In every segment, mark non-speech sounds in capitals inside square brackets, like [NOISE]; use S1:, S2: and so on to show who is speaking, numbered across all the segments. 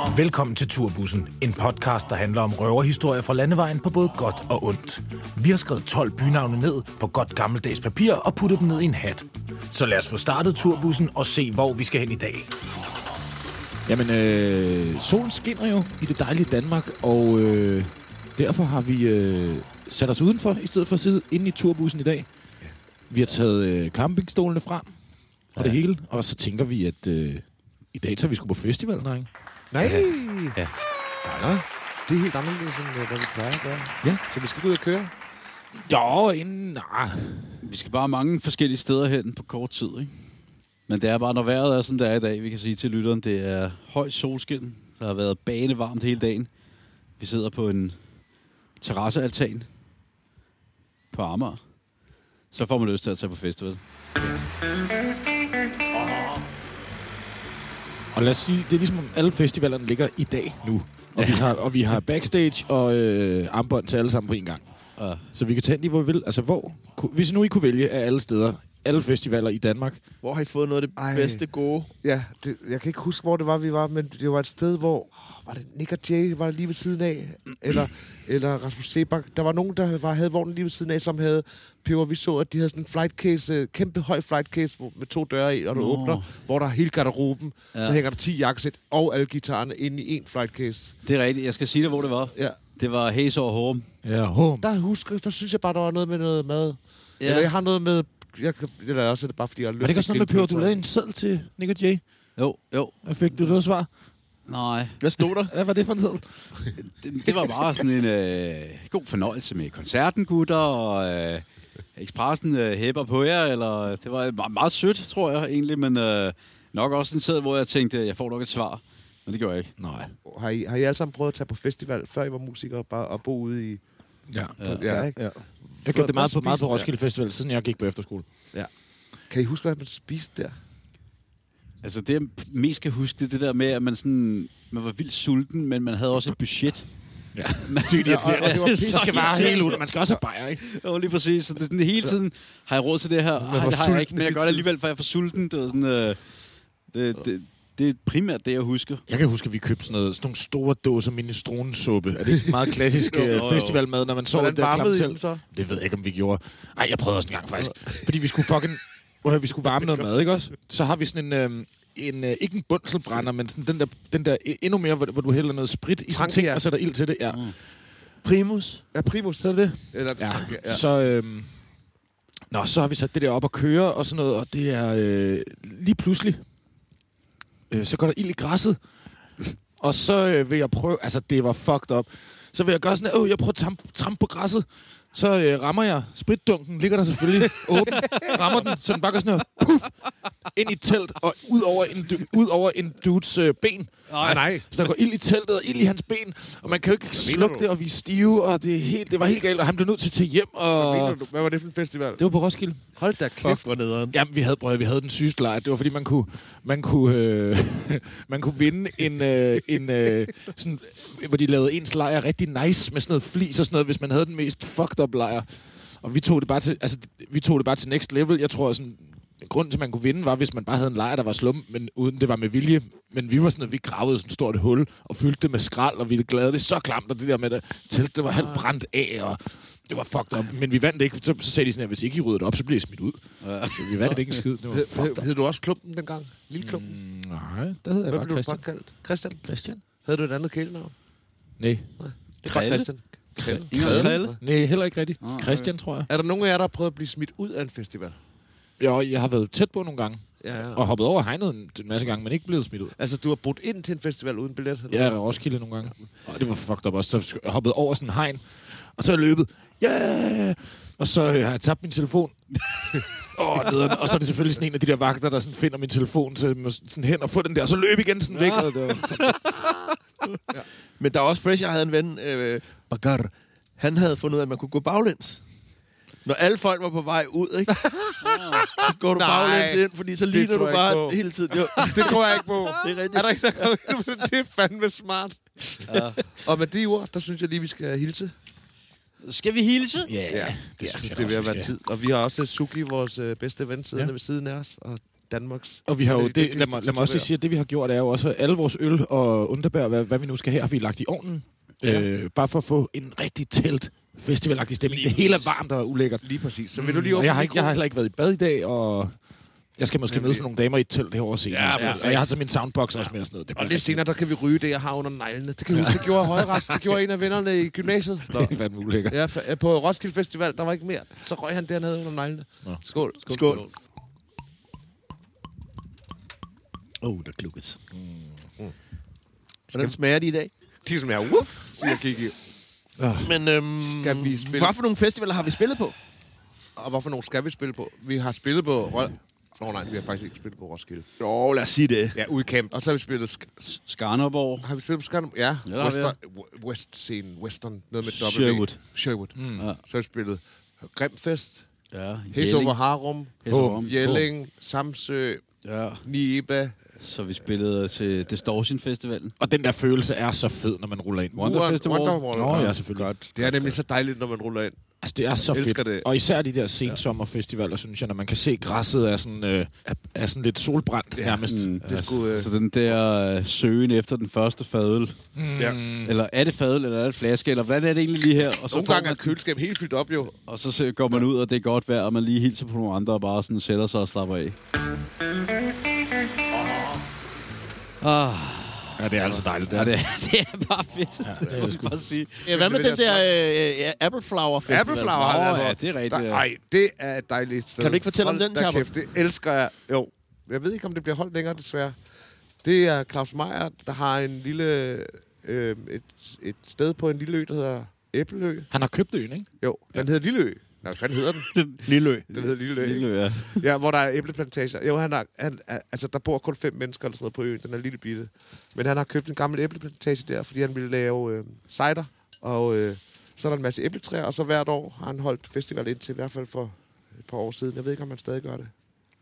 S1: Og velkommen til Turbussen, en podcast, der handler om røverhistorier fra landevejen på både godt og ondt. Vi har skrevet 12 bynavne ned på godt gammeldags papir og puttet dem ned i en hat. Så lad os få startet Turbussen og se, hvor vi skal hen i dag.
S2: Jamen, øh, solen skinner jo i det dejlige Danmark, og øh, derfor har vi øh, sat os udenfor, i stedet for at sidde inde i turbussen i dag. Vi har taget øh, campingstolene frem, og det hele, og så tænker vi, at øh, i dag tager vi sgu på festival, drenge.
S3: Nej! Ja. Nej, det er helt anderledes, end øh, hvad vi plejer at gøre.
S2: Ja.
S3: Så vi skal ud og køre.
S2: Jo, inden... Ah,
S4: Vi skal bare mange forskellige steder hen på kort tid, ikke? Men det er bare, når vejret er, som det er i dag, vi kan sige til lytteren, det er høj solskin. Der har været banevarmt hele dagen. Vi sidder på en terrassealtan på Amager. Så får man lyst til at tage på festival.
S2: og lad os sige, det er ligesom, om alle festivalerne ligger i dag nu. Og, vi, har, og vi har backstage og øh, armbånd til alle sammen på en gang.
S4: Og
S2: Så vi kan tage den lige, hvor vi vil. Altså, hvor... ku- Hvis nu I kunne vælge af alle steder, alle festivaler i Danmark,
S5: Hvor har I fået noget af det
S3: Ej.
S5: Ej. bedste gode?
S3: Ja, det, jeg kan ikke huske, hvor det var, vi var, men det var et sted, hvor... åh, Var det Nick og Jay, var det lige ved siden af? Eller, eller Rasmus Sebak? Der var nogen, der var, havde vognen lige ved siden af, som havde peber. Vi så, at de havde sådan en flight case, øh, kæmpe høj flight case hvor- med to døre i, og du
S4: Nå.
S3: åbner, hvor der er hele garderoben. Ja. Så
S4: Ja.
S3: hænger der 10 jakkesæt og alle gitarerne inde i en flight case.
S4: det er rigtigt. Jeg skal sige dig, hvor det var.
S3: Ja.
S4: Det var Hayes over Horum.
S2: Ja, home.
S3: Der husker, der synes jeg bare, der var noget med noget mad. Ja.
S4: Ja.
S3: Eller jeg har noget med... Jeg, kan- eller også er det bare, fordi jeg har lyst
S2: Var det ikke også
S3: til
S2: noget
S3: at
S2: med, Pøver, du
S3: grille
S2: lavede en seddel til Nick og Jay?
S4: Jo, jo.
S2: Og fik du noget svar?
S4: Nej.
S5: Hvad stod der?
S2: Hvad var det for en seddel?
S4: det, det var bare sådan en øh, god fornøjelse med koncerten, gutter, og øh, Expressen øh, hæpper på jer, eller det var meget, meget sødt, tror jeg egentlig, men øh, nok også en tid, hvor jeg tænkte, at jeg får nok et svar, men det gjorde jeg ikke.
S2: Nej.
S3: Har I, har I alle sammen prøvet at tage på festival, før I var musikere, bare at bo ude i...
S2: Ja.
S3: Ja, ja, ikke? ja.
S2: Jeg gjorde det meget på,
S3: Spise-
S2: meget på Roskilde Festival, siden jeg gik på efterskole.
S3: Ja. Kan I huske, hvad man spiste der?
S4: Altså det, jeg mest kan huske, det er det der med, at man, sådan, man var vildt sulten, men man havde også et budget.
S2: Ja.
S4: [LAUGHS] Man, Sygt
S3: irriterende. og det var pisse
S2: Det skal bare helt ud, og man skal også have bajer, ikke?
S4: Jo, lige præcis. Så det er sådan hele tiden, har jeg råd til det her? Nej, det har jeg ikke, men jeg gør det alligevel, for jeg er for sulten. Det, var sådan, øh, det, det, det er primært det, jeg husker.
S2: Jeg kan huske, at vi købte sådan, noget, sådan nogle store dåser minestronesuppe. Er det ikke sådan meget
S3: [LAUGHS]
S2: klassisk
S4: Jo, jo,
S2: øh,
S4: jo.
S2: festivalmad, når man så
S3: Hvordan
S2: den der
S3: varmede I
S2: klamtel?
S3: dem så?
S2: Det ved jeg ikke, om vi gjorde. Ej, jeg prøvede også en gang faktisk. Fordi vi skulle fucking... Hvor vi skulle varme noget mad, ikke også? Så har vi sådan en... Øh, en, øh, ikke en bundselbrænder, men sådan den der, den der øh, endnu mere, hvor, hvor du hælder noget sprit i sådan
S3: Tank,
S2: en ting,
S3: ja. Mm.
S2: og sætter ild til det. Ja.
S5: Primus.
S3: Ja, primus.
S2: Så er det det.
S3: Eller ja.
S2: Ja.
S3: ja.
S2: Ah, Så, øhm, nå, så har vi sat det der op og køre og sådan noget, og det er øh, lige pludselig, øh, så går der ild i græsset, og så øh, vil jeg prøve, altså det var fucked up, så vil jeg gøre sådan, at øh, jeg prøver at trampe, trampe på græsset, så øh, rammer jeg spritdunken, ligger der
S3: [LAUGHS]
S2: selvfølgelig åben, rammer den, så den bare går sådan her, puff, ind i et telt og ud over en, du- ud over en dudes øh, ben.
S3: Nej, nej.
S2: Så der går ild i teltet og ild i hans ben, og man kan jo ikke slukke det, og vi er stive, og det, er helt, det var helt galt, og han blev nødt til at tage hjem, og...
S3: Mener du, Hvad var det for en festival?
S2: Det var på Roskilde.
S3: Hold da kæft.
S5: hvor nederen.
S2: Jamen, vi havde, prøv, at høre, vi havde den sygeste lejr. Det var, fordi man kunne, man kunne, øh, [LAUGHS] man kunne vinde en, øh, en øh, sådan, hvor de lavede ens lejr rigtig nice med sådan noget flis og sådan noget, hvis man havde den mest fucked up lejr. Og vi tog det bare til, altså, vi tog det bare til next level. Jeg tror, sådan, grunden til, at man kunne vinde, var, hvis man bare havde en lejr, der var slum, men uden det var med vilje. Men vi var sådan, at vi gravede sådan et stort hul og fyldte det med skrald, og vi glædede det så klamt, og det der med, at teltet det var
S3: Ah.
S2: halvt brændt af, og det var fucked up. Men vi vandt ikke, så, så sagde de sådan her, hvis ikke I ryddede det op, så bliver I smidt ud.
S3: Ah.
S2: Ja. Vi vandt ikke en skid, det var
S3: Hed,
S2: fucked
S3: hed,
S2: up.
S3: hed du også klumpen dengang? Lille klumpen? Mm,
S2: Nej, der hedder jeg
S3: hvad
S2: bare
S3: blev du
S2: Christian.
S3: fuck kaldt? Christian?
S2: Christian?
S3: Havde du et andet kælenavn?
S2: Nej.
S3: Det var
S4: Krille?
S3: Christian. Krille.
S4: Ingen Krille?
S2: Nej, heller ikke rigtigt.
S3: Ah,
S2: Christian, tror jeg.
S3: Er der nogen af jer, der har prøvet at blive smidt ud af en festival?
S2: Jo, jeg har været tæt på nogle gange,
S3: Ja, ja.
S2: og hoppet over hegnet en en masse gange, men ikke blevet smidt ud.
S3: Altså, du har brudt ind til en festival uden billet? eller
S2: Ja, Roskilde nogle gange. Og det var fucked up også. Så jeg hoppede over sådan en hegn, og så er jeg løbet. Ja! Yeah! Og så øh, har jeg tabt min telefon. [LAUGHS] oh, nederen. og så er det selvfølgelig sådan en af de der vagter, der sådan finder min telefon så jeg må sådan hen og få den der, og så løb igen sådan væk. Og det var-
S5: Men der er også fresh, jeg havde en ven, øh, Bagar. Han havde fundet ud af, at man kunne gå baglæns. Når alle folk var på vej ud,
S3: [LAUGHS]
S5: ikke? så går du
S3: Nej,
S5: baglæns ind, fordi så
S3: det
S5: ligner
S3: tror
S5: du
S3: jeg ikke på.
S5: bare hele tiden. Jo,
S3: Det tror jeg ikke
S2: [LAUGHS]
S3: på.
S5: det er rigtigt.
S3: Er der ikke, der kommer- Det er fandme smart. Ja. Og med de ord, der synes jeg lige, vi skal hilse.
S4: Skal vi hilse?
S2: Ja,
S3: Ja,
S2: det synes jeg
S3: det er ved
S2: også,
S3: at
S2: vi
S3: være
S2: skal.
S3: tid. Og vi har også Suki, vores øh, bedste ven, siddende
S2: Ja.
S3: ja. ved siden af os. Og Danmarks... øh,
S2: Og vi
S5: Øh,
S2: har jo, det, lad,
S3: dygtigste
S2: mig, lad mig også lige
S3: tatovører.
S2: sige, at det vi har gjort er jo også, at alle vores øl og underbær, hvad, hvad vi nu skal her, har vi lagt i ovnen. Ja. Øh, bare for at få en rigtig telt festivalagtig stemning. Det hele er varmt og ulækkert. Mm.
S5: Lige præcis. Så vil du lige
S2: Og
S5: åbne
S2: jeg har, ikke, jeg har heller ikke været i bad i dag, og jeg skal måske mødes med nogle damer i et telt herovre senere.
S5: Ja,
S2: Ja,
S5: perfekt.
S2: og jeg har taget min soundbox også med og sådan noget. Det
S3: Og
S2: bliver
S3: lidt senere, der kan vi ryge det, jeg har under neglene. Det kan vi huske, det gjorde højrest. Det gjorde en af vennerne i
S2: [LAUGHS]
S3: gymnasiet. Nå.
S2: rigtig- fandme ulækkert.
S3: Ja, fa- på Roskilde Festival, der var ikke mere. Så røg han dernede under neglene. Skål. Skål.
S5: Skål.
S4: Oh, der klukkes.
S5: Hvordan smager de i dag?
S3: De som er, uff, siger Kiki.
S5: Men øhm,
S3: Skal vi spille-
S5: hvad for nogle festivaler har vi spillet på?
S3: Og hvorfor nogle skal vi spille på? Vi har spillet på... Rø- Nå oh, nej, vi har faktisk ikke spillet på Roskilde.
S5: Jo, lad os sige det.
S3: Ja, udkamp. Og så har vi spillet... Sk- s-
S4: Skarnerborg.
S3: har vi spillet på Skarnum? Ja,
S4: der har vi.
S3: Western, w- West Scene, Western, noget med W.
S4: Sherwood.
S3: Sherwood. Mm. Ja. Så har vi spillet Grimfest,
S4: Ja,
S3: Hæsover Harum,
S4: Hessover.
S3: Jelling, Samsø,
S4: Ja,
S3: Niba,
S4: så vi spillede til Distortion Festivalen.
S2: Og den der følelse er så fed, når man ruller ind.
S4: Wonder Festival.
S3: Wonderwall.
S2: Nå, ja, selvfølgelig. Godt.
S3: Det er nemlig så dejligt, når man ruller ind.
S2: Altså, det er så
S3: Jeg elsker
S2: fedt.
S3: det.
S2: Og især de der sensommerfestivaler, synes jeg, når man kan se græsset er sådan, øh, er, er sådan lidt solbrændt ja. nærmest. Mm.
S3: Det skulle... Øh,
S4: Så den der øh, søgen efter den første fadøl.
S3: ja.
S4: Eller er det fadøl, eller er det flaske, eller hvordan er det egentlig lige her? Og så,
S3: Nogle
S4: får
S3: gange er
S4: man,
S3: køleskabet helt fyldt op, jo.
S4: og så se- går man ud, og det er godt vejr, og man lige hilser på nogle andre, og bare sådan sætter sig og slapper af.
S2: Ja, det er altså dejligt. Det
S4: Ah. Ja,
S2: er.
S4: det, er- [LAUGHS] det er bare fedt. Ja, det er det bare sige.
S5: Ja, hvad med
S3: Det vil
S5: den
S3: jeg
S5: der øh, øh, Appleflower Festival?
S3: Appleflower har jeg
S4: Nå,
S5: Nå,
S3: været
S4: ja,
S5: ja.
S4: det er rigtigt.
S3: Nej, ej, det er et dejligt sted.
S5: Kan du ikke fortælle om
S3: Hold
S5: den,
S3: da
S5: Chapper?
S3: kæft, det elsker jeg. Jo, jeg ved ikke, om det bliver holdt længere, desværre. Det er Claus Meier, der har en lille, øh, et, et sted på en lille ø, der hedder Æbelø.
S2: Han har købt øen, ikke?
S3: Jo, den hedder Lilleø. Nej, hvad fanden
S5: [LAUGHS]
S3: hedder den?
S5: Lilleø.
S3: Den hedder Lilleø. ikke?
S4: Lille, ja.
S3: [LAUGHS] Ja, hvor der er æbleplantager. Jo, han har, han, er- altså, der bor kun fem mennesker eller sådan noget på øen. Den er lille bitte. Men han har købt en gammel æbleplantage der, fordi han ville lave øh, cider. Og øh, så er der en masse æbletræer, og så hvert år har han holdt festival indtil i hvert fald for et par år siden. Jeg ved ikke, om han stadig gør det.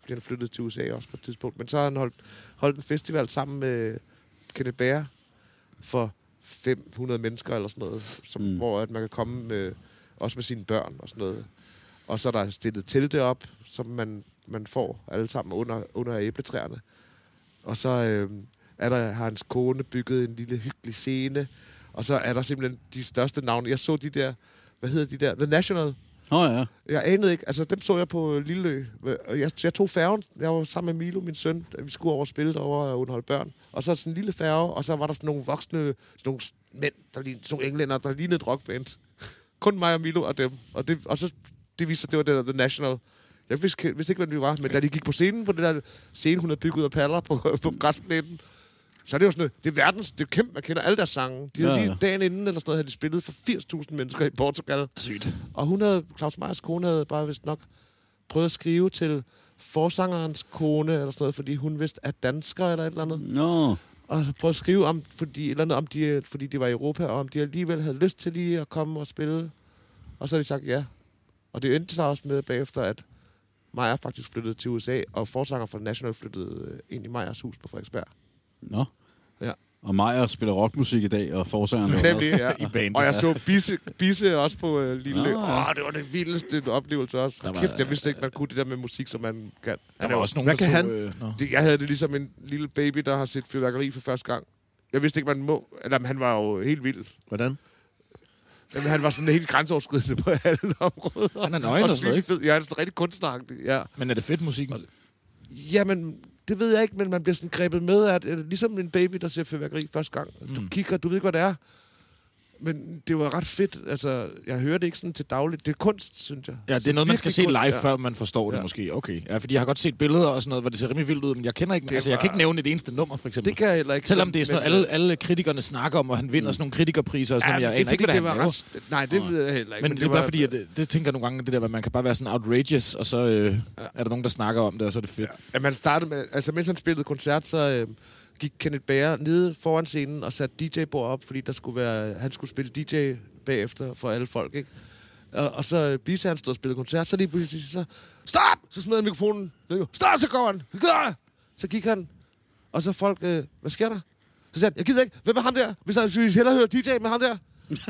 S3: Fordi han flyttede til USA også på et tidspunkt. Men så har han holdt, holdt en festival sammen med Kenneth Bager for 500 mennesker eller sådan noget, som, mm. hvor at man kan komme med, også med sine børn og sådan noget. Og så er der stillet telte op, som man, man får alle sammen under, under æbletræerne. Og så øh, er der, har hans kone bygget en lille hyggelig scene. Og så er der simpelthen de største navne. Jeg så de der, hvad hedder de der? The National.
S4: Nå ja.
S3: Jeg anede ikke, altså dem så jeg på øh, Lilleø. Og Jeg, jeg tog færgen, jeg var sammen med Milo, min søn, da vi skulle over og spille derovre og underholde børn. Og så sådan en lille færge, og så var der sådan nogle voksne, sådan nogle s- mænd, der lignede, sådan nogle englænder, der lignede et rockband. [LAUGHS] Kun mig og Milo og dem. Og, det, og så det viste sig, det var det der The National. Jeg vidste, vidste ikke, hvem det var, men da de gik på scenen, på det der scene, hun havde bygget ud af paller på, [LAUGHS] på græsplænen, så er det jo sådan noget, det er verdens, det er kæmpe, man kender alle deres sange. De havde
S4: Ja,
S3: ja,
S4: ja.
S3: lige dagen inden eller sådan noget, havde de spillet for 80.000 mennesker i Portugal.
S2: Sygt.
S3: Og hun havde, Claus Meyers kone havde bare vist nok prøvet at skrive til forsangerens kone, eller sådan noget, fordi hun vidste, at dansker eller et eller andet.
S4: Nå.
S3: Og så prøvede at skrive om, fordi, et eller andet, om de, øh, fordi de var i Europa, og om de alligevel havde lyst til lige at komme og spille. Og så har de sagt ja. Og det endte sig også med bagefter, at Maja faktisk flyttede til USA, og forsanger for National flyttede øh, ind i Majas hus på Frederiksberg.
S4: Nå.
S3: Ja.
S4: Og Majer spiller rockmusik i dag, og forsangeren er
S3: Nemlig, ja.
S2: [LAUGHS] I bandet.
S3: Og jeg så Bisse, Bisse også på øh, Lille Lø.
S4: Nå, ja.
S3: Åh, det var det vildeste oplevelse også.
S2: Der var-
S3: Kæft, jeg vidste ikke, man kunne det der med musik, som man kan.
S2: Der var også nogen,
S5: Hvad
S2: der
S5: kan
S2: tog,
S5: han?
S2: Øh, nå.
S3: Det, jeg havde det ligesom en lille baby, der har set fyrværkeri for første gang. Jeg vidste ikke, man må... Eller, men han var jo helt vild.
S5: Hvordan?
S3: Jamen, han var sådan helt grænseoverskridende på alle områder.
S2: Han er nøgen og sådan noget,
S3: sygt fed. Ja, han er sådan rigtig kunstneragtig, ja.
S2: Men er det fedt musik?
S3: Jamen, det ved jeg ikke, men man bliver sådan grebet med, at øh, ligesom en baby, der ser fyrværkeri første gang. Du
S2: Mm.
S3: kigger, du ved ikke, hvad det er. Men det var ret fedt. Altså, jeg hører det ikke sådan til dagligt. Det er kunst, synes jeg. Altså,
S2: Ja, det er noget, man skal
S3: virkelig
S2: se
S3: kunst,
S2: live,
S3: ja.
S2: før man forstår det
S3: Ja.
S2: måske. Okay. Ja, fordi jeg har godt set billeder og sådan noget, hvor det ser rimelig vildt ud, men jeg kender ikke,
S3: Det
S2: altså, jeg
S3: var-
S2: kan ikke nævne et eneste nummer, for eksempel.
S3: Det kan jeg heller ikke.
S2: Selvom det er sådan
S3: Men- øh, Mm.
S2: noget, alle, alle kritikerne snakker om, og han vinder sådan nogle kritikerpriser og sådan noget,
S3: Ja,
S2: men
S3: men
S2: jeg
S3: det er fordi,
S2: aner ikke,
S3: det
S2: hvad det er,
S3: var
S2: han laver.
S3: ret... Nej, det ved jeg heller ikke.
S2: Men det er bare fordi, at det, det tænker jeg nogle gange, det der, at man kan bare være sådan outrageous, og så øh, er der nogen, der snakker om det, og så er det fedt.
S3: at man startede med, altså mens han spillede koncert, så øh, gik Kenneth Bager nede foran scenen og satte DJ-bord op, fordi der skulle være, han skulle spille DJ bagefter for alle folk, ikke? Og, og så øh, Bisse, han stod og spillede koncert, så lige pludselig så, stop! Så smed han mikrofonen. ned. Stop, så går han. "Hvad gør jeg?" Så gik han, og så folk, øh, hvad sker der? Så sagde han, jeg gider ikke, hvem er ham der? Hvis jeg, hvis jeg hellere hører DJ med ham der.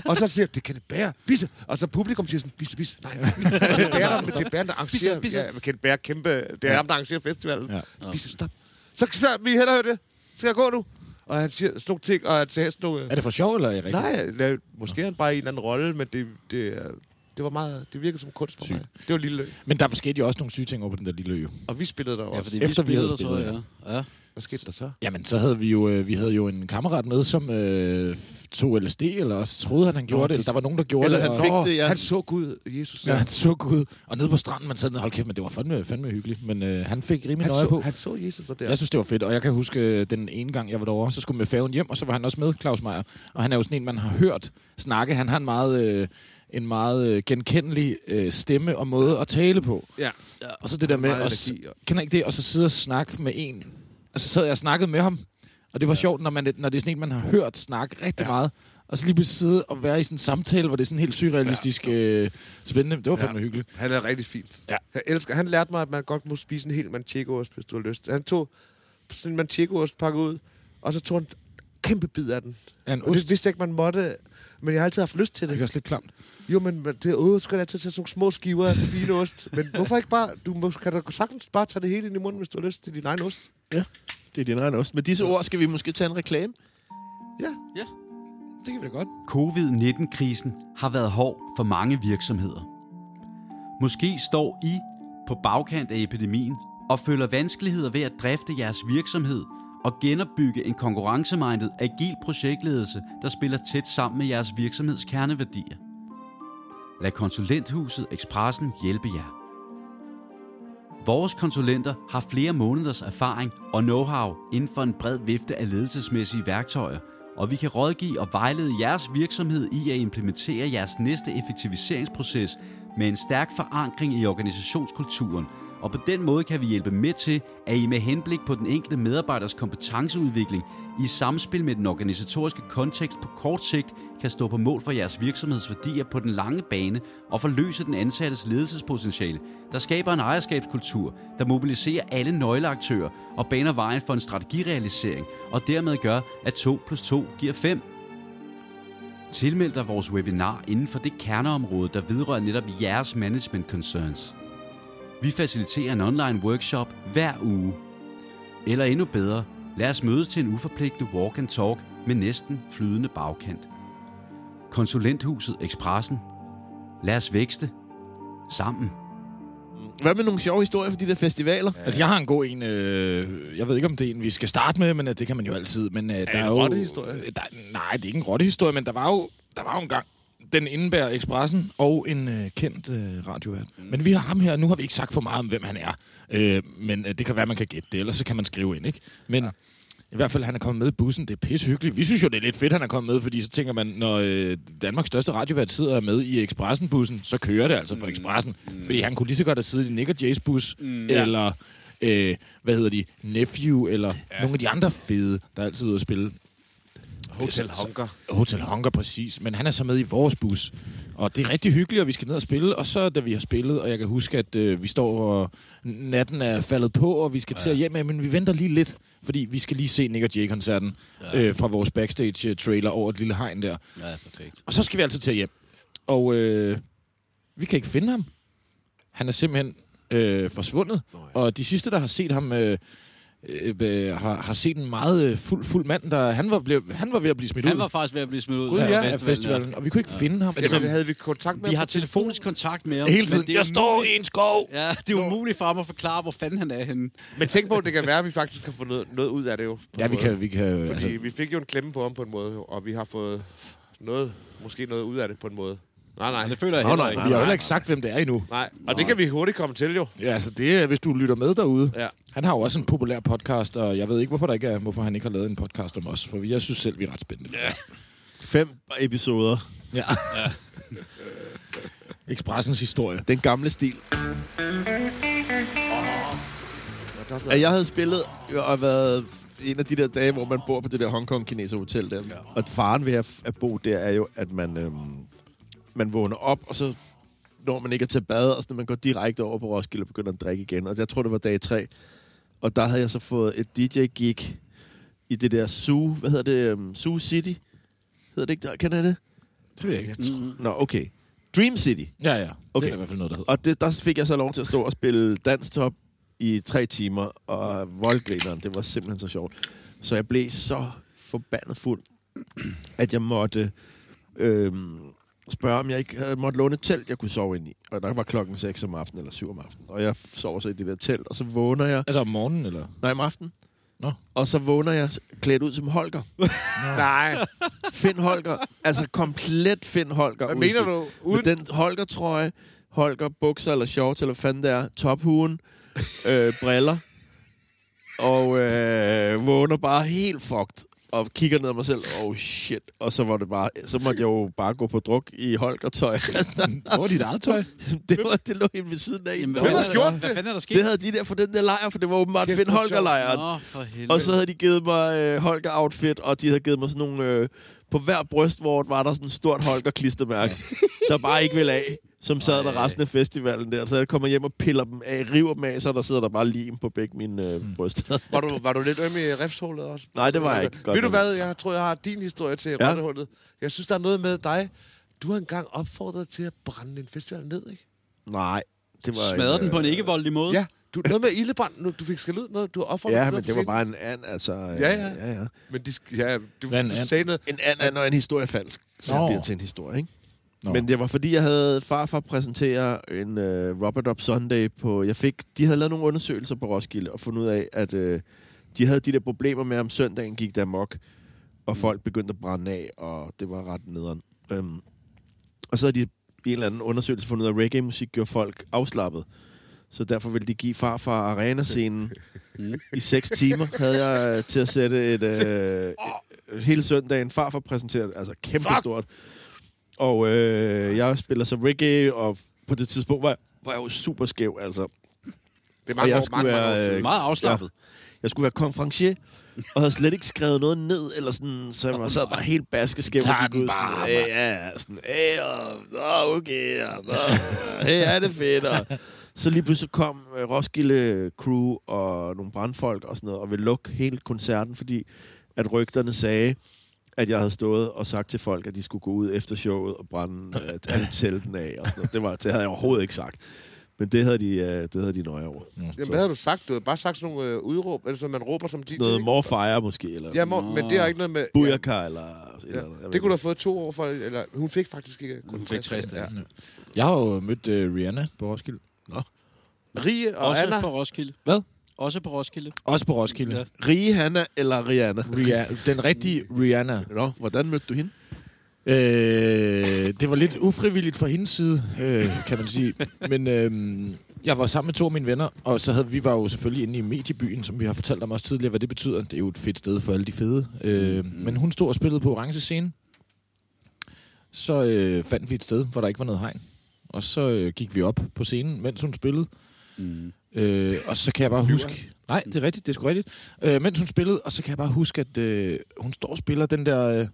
S3: Og så siger jeg, det kan det bære, bisse. Og så publikum siger sådan, bisse, bisse. Nej, nej. det er ham, det er Bære, der arrangerer.
S5: Bisse,
S3: Bisse,
S5: bisse.
S3: Ja, kan det bære kæmpe, det er ham, der arrangerer festivalen.
S2: Ja.
S3: Ja. Bisse, stop. Så, så vi hellere høre det. Skal jeg gå nu? Og han siger sådan nogle ting, og han sagde sådan nogle...
S2: Er det for sjov, eller er det rigtigt?
S3: Nej, la- måske er han bare i en eller anden rolle, men det, det, er- det var meget... Det virkede som kunst for
S2: Sygt.
S3: mig. Det var lille. Lø.
S2: Men der skete jo også nogle syge ting over på den der lille ø.
S3: Og vi spillede der
S4: Ja,
S3: også.
S4: fordi
S3: Ja,
S4: vi
S2: Efter vi havde
S4: spillede, og så,
S2: spillet,
S4: ja. ja.
S3: Hvad skete der så?
S2: Jamen, så havde vi jo, øh, vi havde jo en kammerat med, som øh, tog LSD, eller også troede han, han gjorde det, eller der var nogen, der gjorde
S5: Eller
S2: det.
S5: han
S2: og-
S5: fik
S2: Nå,
S5: det, ja.
S3: Han så Gud, Jesus.
S2: Ja, han så ud. Og nede på stranden, man sad ned, hold kæft, men det var fandme, fandme hyggeligt. Men øh, han fik rimelig
S3: Han,
S2: nøje på.
S3: så, han så Jesus der.
S2: Jeg synes, det var fedt, og jeg kan huske øh, den ene gang, jeg var derovre, så skulle med færgen hjem, og så var han også med, Claus Meier. Og han er jo sådan en, man har hørt snakke. Han har en meget, øh, en meget øh, genkendelig øh, stemme og måde at tale på.
S5: Ja.
S2: Og så det der med,
S5: meget
S2: at, s-
S5: energi, og-
S2: kender I ikke det, og så sidde og snakke med en. Og så sad jeg og snakkede med ham, og det var ja. sjovt, når, man, når det er sådan en, man har hørt snakke rigtig ja. meget. Og så lige pludselig sidde og være i sådan en samtale, hvor det er sådan helt surrealistisk øh, spændende. Det var fandme ja. hyggeligt.
S3: Han er rigtig fint.
S2: Ja.
S3: Jeg elsker. Han lærte mig, at man godt må spise en hel manchegoost, hvis du har lyst. Han tog sådan en manchegoost pakket ud, og så tog han en kæmpe bid af den.
S2: Ja, en
S3: Og
S2: ost.
S3: det vidste jeg ikke, man måtte, men jeg har altid haft lyst til
S2: Det
S3: det.
S2: er også lidt klamt.
S3: Jo, men men det åh, skal jeg altid tage sådan nogle små skiver af den fine ost. Men hvorfor ikke bare, du må, kan da sagtens bare tage det hele ind i munden, hvis du har lyst til din egen ost.
S5: ja. Det er din egen ost. Med disse ord skal vi måske tage en reklame.
S3: Ja,
S4: ja.
S3: det kan vi da godt.
S6: Covid-19-krisen har været hård for mange virksomheder. Måske står I på bagkant af epidemien og føler vanskeligheder ved at drifte jeres virksomhed og genopbygge en konkurrencemindet agil projektledelse, der spiller tæt sammen med jeres virksomheds kerneværdier. Lad konsulenthuset Expressen hjælpe jer. Vores konsulenter har flere måneders erfaring og know-how inden for en bred vifte af ledelsesmæssige værktøjer, og vi kan rådgive og vejlede jeres virksomhed i at implementere jeres næste effektiviseringsproces med en stærk forankring i organisationskulturen, og på den måde kan vi hjælpe med til, at I med henblik på den enkelte medarbejders kompetenceudvikling i samspil med den organisatoriske kontekst på kort sigt kan stå på mål for jeres virksomheds værdier på den lange bane og forløse den ansattes ledelsespotentiale, der skaber en ejerskabskultur, der mobiliserer alle nøgleaktører og baner vejen for en strategirealisering og dermed gør, at 2 plus 2 giver 5. Tilmeld dig vores webinar inden for det kerneområde, der vedrører netop jeres management concerns. Vi faciliterer en online workshop hver uge. Eller endnu bedre, lad os mødes til en uforpligtende walk and talk med næsten flydende bagkant. Konsulenthuset Expressen. Lad os vækste sammen.
S5: Hvad med nogle sjove historier fra de der festivaler? Ja.
S2: Altså, jeg har en god en. Øh, jeg ved ikke, om det er en, vi skal starte med, men øh, det kan man jo altid. Men, øh, der er,
S5: en
S2: jo,
S5: rottehistorie?
S2: Øh, Der, nej, det er ikke en rottehistorie, men der var jo, der var jo en gang. Den indebærer Expressen og en øh, kendt øh, radiovært. Men vi har ham her, nu har vi ikke sagt for meget om, hvem han er. Øh, men øh, det kan være, man kan gætte det, ellers så kan man skrive ind, ikke? Men... Ja. I hvert fald, han er kommet med i bussen. Det er pissehyggeligt. Vi synes jo, det er lidt fedt, han er kommet med, fordi så tænker man, når øh, Danmarks største radiovært sidder og er med i Expressen-bussen, så kører det altså for Expressen. Mm. Fordi han kunne lige så godt have siddet i Nick og Jays bus, mm. eller, øh, hvad hedder de, Nephew, eller ja. nogle af de andre fede, der er altid ude at spille. Hotel Hunger. Hotel Hunger, præcis. Men han er så med i vores bus. Og det er rigtig hyggeligt, og vi skal ned og spille. Og så, da vi har spillet, og jeg kan huske, at øh, vi står, og natten er faldet på, og vi skal til at hjem, men vi venter lige lidt, fordi vi skal lige se Nick og Jay-koncerten øh, fra vores backstage-trailer over et lille hegn der.
S4: Ja, perfekt.
S2: Og så skal vi altså til hjem. Og øh, vi kan ikke finde ham. Han er simpelthen øh, forsvundet. Og de sidste, der har set ham, øh, øh, øh, har, har set en meget øh, fuld, fuld mand, der han var, blev, han var ved at blive smidt
S4: Han
S2: ud
S4: var faktisk ved at blive smidt ud
S2: Gud,
S4: af
S2: ja, af festivalen, og vi kunne ikke ja. finde ham.
S3: Jamen, havde vi kontakt med
S4: Vi
S3: ham
S4: har
S3: på telefonen?
S4: telefonisk kontakt med ham.
S2: hele
S4: men
S2: tiden,
S4: det er
S2: jeg
S4: umuligt-
S2: står i en skov!
S4: Ja, det er umuligt for ham at forklare, hvor fanden han er henne.
S3: Men tænk på, at det kan være, at vi faktisk har fundet noget ud af det jo. på en
S2: Ja, vi
S3: måde.
S2: kan... Vi kan
S3: Fordi
S2: altså,
S3: altså... vi fik jo en klemme på ham på en måde, og vi har fået noget, måske noget ud af det på en måde. Nej, nej.
S4: Og det føler jeg heller ikke.
S2: vi har heller ikke sagt, hvem det er endnu.
S3: Nej, og det kan vi hurtigt komme til jo.
S2: Ja, altså det er, hvis du lytter med derude.
S3: Ja.
S2: Han har jo også en populær podcast, og jeg ved ikke, hvorfor, der ikke er, hvorfor han ikke har lavet en podcast om os, for jeg synes selv, vi er ret spændende. Ja.
S5: Fem episoder.
S2: [LAUGHS] ja. Expressens historie.
S5: øh, Den gamle stil. At jeg havde spillet og været en af de der dage, hvor man bor på det der Hongkong Kineser Hotel der. Ja. Og faren ved at, at bo der er jo, at man, øhm, man vågner op, og så når man ikke at tage bad, og så man går direkte over på Roskilde og begynder at drikke igen. Og jeg tror, det var dag tre. Og der havde jeg så fået et DJ-gig i det der Zoo, hvad hedder det, øhm, Zoo City? Hedder det ikke der? Kender I det?
S2: Det ved jeg ikke.
S5: Nå, okay. Dream City.
S2: Ja, ja. Okay.
S5: Okay.
S2: Det er i hvert fald noget, der hedder.
S5: Og det, der fik jeg så lov til at stå og spille danstop i tre timer, og voldgrineren, det var simpelthen så sjovt. Så jeg blev så forbandet fuld, at jeg måtte øh, spørge, om jeg ikke havde måtte låne et telt, jeg kunne sove ind i. Og der var klokken 6 om aftenen, eller 7 om aftenen. Og jeg sover så i det der telt, og så vågner jeg...
S2: Altså om morgenen, eller?
S5: Nej, om aftenen.
S2: Nå.
S5: Og så vågner jeg klædt ud som Holger. Nej. Finn Holger. Altså komplet Finn Holger.
S3: Hvad
S5: Uden-
S3: mener du?
S5: Uden... Med den Holger-trøje, Holger-bukser eller shorts, eller hvad fanden det er, tophuen, øh, briller, og øh, vågner bare helt fucked og kigger ned ad mig selv, oh shit, og så var det bare, så måtte jeg jo bare gå på druk i Holger-tøj. [LAUGHS]
S2: Hvor er dit eget tøj?
S5: det, var, det lå helt ved siden af. Jamen,
S4: hvad
S3: har
S4: er der-
S3: gjort
S4: Hvad
S3: det?
S4: fanden er der sket?
S5: det havde de der for den der lejr, for det var åbenbart
S3: Kæft,
S5: Finn
S3: hvor sjovt.
S5: Holger-lejren.
S4: Nå, for helvede.
S5: Og så havde de givet mig øh, Holger outfit, og de havde givet mig sådan nogle... Øh, på hver brystvort var der sådan et stort Holger
S4: [LAUGHS]
S5: klistermærke, der bare ikke ville af, som sad der resten af festivalen der. Så jeg kommer hjem og piller dem af, river dem af, så der sidder der bare lim på begge mine
S4: Hmm.
S5: øh, bryster.
S3: Var du, var du lidt øm i rifshullet også?
S5: Nej, det var jeg ikke. Godt
S3: Ved du
S5: nok.
S3: hvad, jeg tror, jeg har din historie til ja. rottehullet. Jeg synes, der er noget med dig. Du har engang opfordret til at brænde en festival ned, ikke?
S5: Nej, det var...
S4: Smadrer
S5: en,
S4: den på en
S5: øh,
S4: ikke-voldelig måde?
S3: Ja, du, noget med ildebrand. Nu, du fik skæld ud noget. Du har opfordret
S5: Ja,
S3: til
S5: men
S3: noget
S5: det
S3: for
S5: var
S3: sent.
S5: bare en and, altså... øh,
S3: Ja, ja.
S5: ja, ja.
S3: Men de, sk- ja, du,
S2: Hvad er en
S3: du
S2: and?
S3: sagde noget.
S5: En and er, når en historie er falsk, så
S2: Nå.
S5: bliver det til en historie, ikke?
S2: Nå.
S5: Nå. Men det var fordi, jeg havde farfar præsentere en øh, Robert Up Sunday på... Jeg fik, de havde lavet nogle undersøgelser på Roskilde og fundet ud af, at øh, de havde de der problemer med, om søndagen gik der mok, og folk begyndte at brænde af, og det var ret nederen. Øhm, og så havde de i en eller anden undersøgelse fundet ud af, at reggae-musik gjorde folk afslappet. Så derfor ville de give farfar arena-scenen i seks timer, havde jeg øh, til at sætte et... Øh, et- hele søndagen. Farfar præsenterede altså kæmpestort. Og øh, jeg spiller så reggae, og på det tidspunkt var jeg, var jeg jo super skæv, altså.
S3: Det er
S5: og
S3: mange,
S5: jeg
S3: år, mange, mange år siden.
S5: øh,
S4: Meget afslappet.
S5: jeg skulle være konferencier, og havde slet ikke skrevet noget ned, eller sådan, så jeg var sad bare helt baskeskæv.
S2: Tag
S5: og gik
S2: den
S5: ud
S2: bare,
S5: sådan, "Æh, ja, sådan, æh, og, nå, okay, og, nå, hey, er det fedt, og, så lige pludselig kom øh, Roskilde Crew og nogle brandfolk og sådan noget, og ville lukke hele koncerten, fordi at rygterne sagde, at jeg havde stået og sagt til folk, at de skulle gå ud efter showet og brænde øh,
S3: [LAUGHS]
S5: alle telten af. Og sådan noget. Det, var, det havde jeg overhovedet ikke sagt. Men det havde de, øh, det havde de nøje over. Mm.
S3: Jamen, hvad har du sagt? Du har bare sagt sådan nogle øh, udråb, eller sådan, man råber som DJ.
S5: Noget
S3: ikke?
S5: more fire måske, eller
S3: Ja, mor, men det har ikke noget med...
S5: Bujaka, eller... et
S3: Ja,
S5: eller andet. Jeg
S3: det
S5: ved
S3: kunne du have fået to år for, eller hun fik faktisk ikke kun
S4: Hun fik 60
S3: Ja.
S4: dage.
S2: Jeg har jo mødt uh, Rihanna på Roskilde. Nå.
S3: Rie og
S4: Også
S3: Anna,
S4: på Roskilde.
S2: Hvad?
S4: Også på Roskilde.
S2: Også på Roskilde. Ja.
S5: ikke. Rihanna eller Rihanna?
S2: Rihanna, den rigtige Rihanna.
S5: Nå, hvordan mødte du hende?
S2: Øh, det var lidt ufrivilligt fra hendes side, øh, kan man sige. Men øh, jeg var sammen med to af mine venner, og så havde vi var jo selvfølgelig inde i mediebyen, som vi har fortalt om også tidligere, hvad det betyder. Det er jo et fedt sted for alle de fede. Øh, Men hun stod og spillede på orange scene. Så øh, fandt vi et sted, hvor der ikke var noget hegn. Og så øh, gik vi op på scenen, mens hun spillede. Øh, og så kan jeg bare huske... Nej, det er rigtigt, det er sgu rigtigt. Øh, mens hun spillede, og så kan jeg bare huske, at øh, hun står og spiller den der... Øh,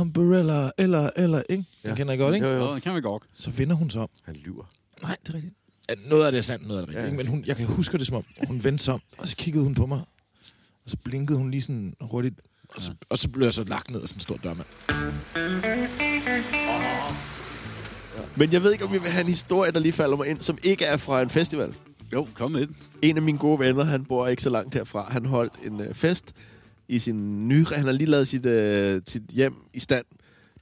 S2: umbrella, eller, eller, ikke? Den ja. kender I godt, ikke?
S4: Jo, jo. Det kan vi godt.
S2: Så vender hun sig om.
S5: Han lyver.
S2: Nej, det er rigtigt. Ja, Noget af det er sandt, noget af det er rigtigt. Ja. Men hun, jeg kan huske det som om, hun vendte sig om, og så kiggede hun på mig. Og så blinkede hun lige sådan hurtigt. Og så, og så blev jeg så lagt ned af sådan en stor dørmand.
S5: Men jeg ved ikke, om vi vil have en historie, der lige falder mig ind, som ikke er fra en festival.
S4: Jo, kom med den.
S5: En af mine gode venner, han bor ikke så langt herfra, han holdt en øh, fest i sin nye... Han har lige lavet sit, øh, sit hjem i stand.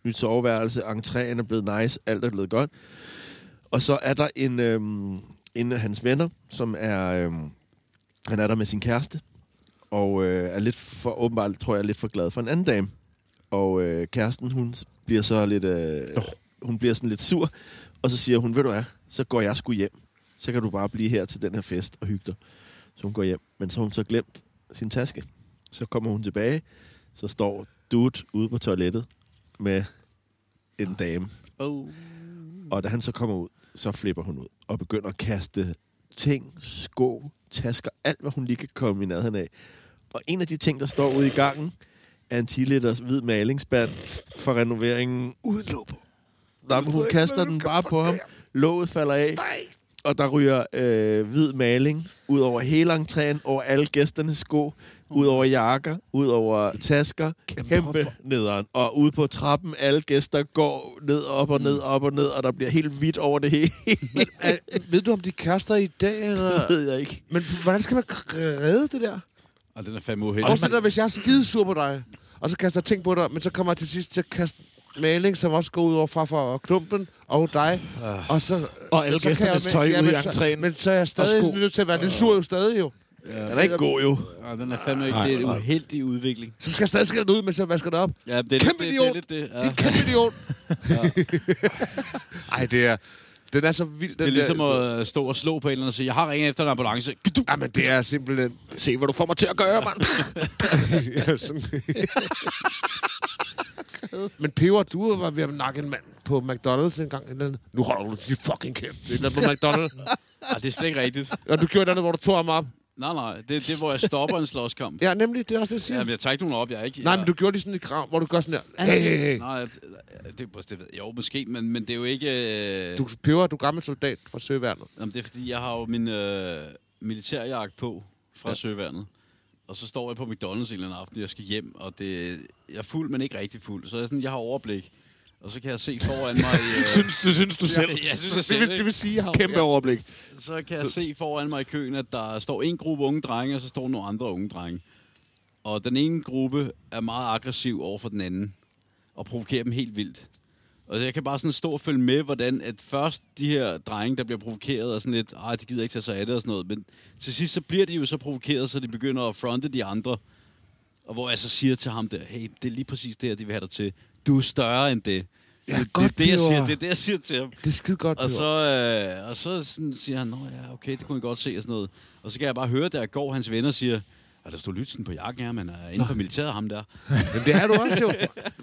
S5: Nyt soveværelse, entréen er blevet nice, alt er blevet godt. Og så er der en, øh, en af hans venner, som er... Øh, han er der med sin kæreste, og øh, er lidt for, åbenbart tror jeg, lidt for glad for en anden dame. Og øh, kæresten, hun bliver så lidt, øh, hun bliver sådan lidt sur, og så siger hun, ved du hvad, så går jeg sgu hjem. Så kan du bare blive her til den her fest og hygge dig. Så hun går hjem, men så har hun så glemt sin taske. Så kommer hun tilbage, så står dude ude på toilettet med en dame.
S4: Oh.
S5: Og da han så kommer ud, så flipper hun ud og begynder at kaste ting, sko, tasker, alt hvad hun lige kan komme i nærheden af. Og en af de ting, der står ude i gangen, er en 10 liters hvid malingsband fra renoveringen uden låg på. Nej, men hun kaster den bare på ham. Låget falder af. og der ryger øh, hvid maling ud over hele entréen, over alle gæsternes sko, ud over jakker, ud over tasker, kæmpe, kæmpe nederen. Og ude på trappen, alle gæster går ned, op og ned, op og ned, og der bliver helt hvidt over det hele. øh,
S3: Er, ved du, om de kaster i dag, [LAUGHS]
S5: [LAUGHS] det
S3: eller...
S5: ved jeg ikke.
S3: Men hvordan skal man redde det der?
S4: Og den er fandme uheldig.
S3: Forestil dig, hvis jeg er skidesur på dig, og så kaster jeg ting på dig, men så kommer jeg til sidst til at kaste maling, som også går ud over farfar og klumpen og dig.
S5: Ah.
S3: Og, så,
S2: Og alle
S3: så kan
S2: gæsternes
S3: jeg-
S2: tøj ud
S3: men
S2: i
S3: så-
S2: entréen.
S3: Men så er jeg
S2: Og
S3: stadig
S2: sko.
S3: nødt til at være lidt sur jo stadig jo.
S5: Den er ikke god, jo.
S4: Og den er fandme ikke... Det er en uheldig udvikling.
S3: Så skal jeg stadig skille den ud, mens jeg vasker det op.
S4: Ja, det er
S3: Kæmpe
S4: lidt det, det,
S3: idiot!
S4: er lidt det. Ja.
S3: Det er en kæmpe idiot. Ej, det er... Den er så vild, den
S4: Det er ligesom
S3: der.
S4: at øh, stå og slå på en eller anden og sige, jeg har ringet efter en ambulance. Du
S3: At... Jamen, det er simpelthen...
S2: Se, hvad du får mig til at gøre, mand.
S3: [LAUGHS] Ja, sådan. Men peber, du var ved at nakke en mand på McDonald's en gang. En eller anden. Nu holder du din fucking kæft. Det er et eller andet på McDonald's.
S4: Ej, det er slet ikke rigtigt.
S3: Og du gjorde et andet, hvor du tog ham op.
S4: Nej, nej, det er det, er, hvor jeg stopper en slåskamp.
S3: Ja, nemlig. Det er også det, jeg siger.
S4: Jamen, jeg tager ikke nogen op, jeg er ikke...
S3: Nej,
S4: jeg,
S3: men du gjorde lige sådan et krav, hvor du gør sådan der. Hey, hey, hey.
S4: Nej, det, det, det ved jeg jo måske, men, men det er jo ikke... Øh,
S3: Du peber, du er gammel soldat fra Søværnet.
S4: Jamen, det er fordi, jeg har jo min øh, militærjagt på fra ja. søværnet. Og så står jeg på McDonald's en eller anden aften, jeg skal hjem, og det, jeg er fuld, men ikke rigtig fuld. Så er jeg, sådan, jeg har overblik, og så kan jeg se foran mig... Øh,
S2: synes, det synes du selv.
S4: jeg synes, jeg
S2: det,
S4: selv,
S2: vil,
S4: ikke?
S2: det vil sige, har Kæmpe overblik.
S4: så kan jeg se foran mig i køen, at der står en gruppe unge drenge, og så står nogle andre unge drenge. Og den ene gruppe er meget aggressiv over for den anden, og provokerer dem helt vildt. Og jeg kan bare sådan stå og følge med, hvordan at først de her drenge, der bliver provokeret, og sådan lidt, ah, de gider ikke tage sig af det og sådan noget, men til sidst så bliver de jo så provokeret, så de begynder at fronte de andre. Og hvor jeg så siger til ham der, hey, det er lige præcis det her, de vil have dig til. Du er større end det. Ja, det, det, er
S3: godt,
S4: det, jeg
S3: Peber.
S4: siger, det er det, jeg siger til ham.
S3: Det er skide godt,
S4: Og
S3: Peber.
S4: så, øh, og så sådan siger han, Nå, ja, okay, det kunne jeg godt se og sådan noget. Og så kan jeg bare høre, der går hans venner siger, og der stod Lytzen på jakken her, men er inden for militæret ham der.
S3: Men det er du også [LAUGHS] jo.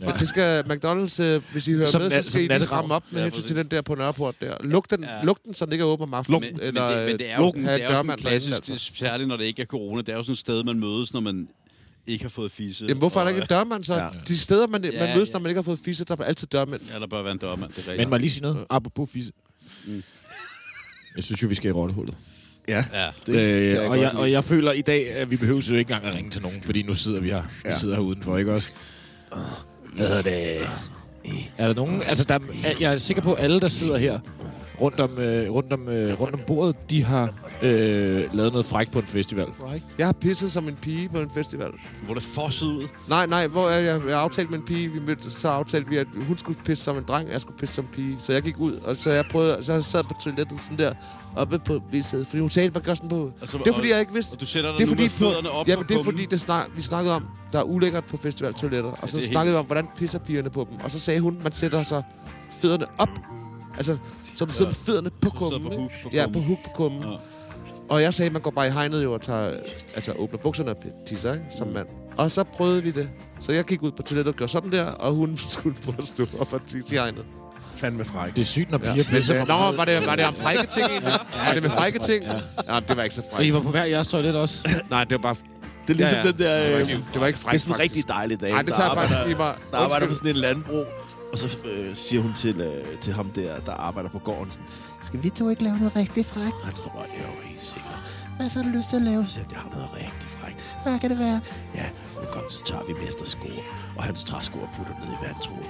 S3: ja. Det skal McDonald's, øh, hvis I hører
S2: Som
S3: med,
S2: nat-
S3: så
S2: som
S3: skal I lige
S2: natteravn.
S3: stramme op med
S4: Ja,
S3: ja, hensyn til
S4: præcis.
S3: den der på Nørreport der. Luk den, ja. luk den så den ikke er åben om aftenen.
S4: Men, men,
S3: eller,
S4: det, men det er jo
S3: luk-
S4: sådan,
S3: have
S4: det er jo sådan
S3: dørmand derinde,
S4: klassisk, det,
S3: altså.
S4: er særligt når det ikke er corona, det er jo sådan et sted, man mødes, når man ikke har fået fisse.
S3: Jamen, hvorfor er der
S4: Og,
S3: ikke en dørmand så? Ja. De steder, man,
S4: Ja,
S3: man mødes,
S4: ja.
S3: når man ikke har fået fisse, der er altid dørmænd.
S4: øh, Ja, der bør være en dørmand, det er
S2: Men
S4: rigtigt.
S2: må jeg lige sige noget? Apropos fisse. Jeg synes jo, vi skal i rottehullet.
S5: Mm. Ja.
S4: Ja.
S5: Det kan
S2: Øh,
S5: jeg
S2: og,
S5: godt
S2: jeg,
S5: lide.
S2: og jeg føler i dag, at vi behøver jo ikke engang at ringe til nogen, fordi nu sidder vi her. Vi
S5: Ja.
S2: sidder her udenfor, ikke også? Hvad hedder det? Er der nogen... Altså, der, er- jeg er sikker på, at alle, der sidder her rundt om, øh, rundt om, øh, rundt om bordet, de har øh, lavet noget frækt på en festival.
S3: Jeg har pisset som en pige på en festival.
S4: Hvor det fossede ud.
S3: Nej, nej, hvor er jeg, jeg aftalte med en pige, vi mødte, så aftalte vi, at hun skulle pisse som en dreng, og jeg skulle pisse som en pige. Så jeg gik ud, og så jeg prøvede, så jeg sad på toilettet sådan der, oppe på viset, fordi hun talte bare gør sådan på.
S4: Altså,
S3: det er fordi,
S4: og-
S3: jeg ikke vidste.
S4: og du sætter dig
S3: det er
S4: nu med
S3: på-
S4: fødderne op
S3: Jamen,
S4: på
S3: det er
S4: kummen.
S3: fordi, det snak, vi snakkede om, der er ulækkert på festivaltoiletter, og så
S4: det er
S3: snakkede vi om, hvordan pisser pigerne på dem. Og så sagde hun, man sætter sig fødderne op. Altså, så du sidder med fødderne på
S4: du sidder
S3: kummen.
S4: på
S3: ikke?
S4: huk på
S3: Ja, på
S4: kummen.
S3: huk på kummen.
S4: Ja.
S3: Og jeg sagde, at man går bare i hegnet jo og tager, altså, åbner bukserne og tisser, ikke?
S4: Mm.
S3: som mand. Og så prøvede vi det. Så jeg gik ud på toilettet og gjorde sådan der, og hun [LAUGHS] skulle prøve at stå op og tisse i hegnet.
S5: Fandme fræk.
S2: Det er sygt, når piger pisser på
S3: Nå, var det, var det om frække ting egentlig? Var det med frække ting? Ja, det var ikke så
S2: Og I
S3: frækt.
S2: var på hver jeres toilet også.
S3: Nej, det var bare...
S5: Det er ligesom
S3: Ja,
S5: ja,
S3: ja.
S5: ja. den der... Øh,
S3: Det var ikke- det var ikke frækt,
S5: Det er sådan en
S3: faktisk.
S5: rigtig dejlig dag.
S3: Nej, det
S5: der
S3: tager jeg faktisk
S5: arbejder-
S3: lige mig.
S5: Der arbejder på
S3: Undskyld.
S5: sådan et landbrug, og så øh, siger hun til, øh, til ham der, der arbejder på gården, sådan, skal vi to ikke lave noget rigtig frækt? Og han står bare, jo, helt sikkert. Hvad så har du lyst til at lave? Så siger, jeg, jeg har noget rigtig frækt. Hvad kan det være? Ja, nu kom, så tager vi mestersko, og hans træsko og putter ned i vandtroen.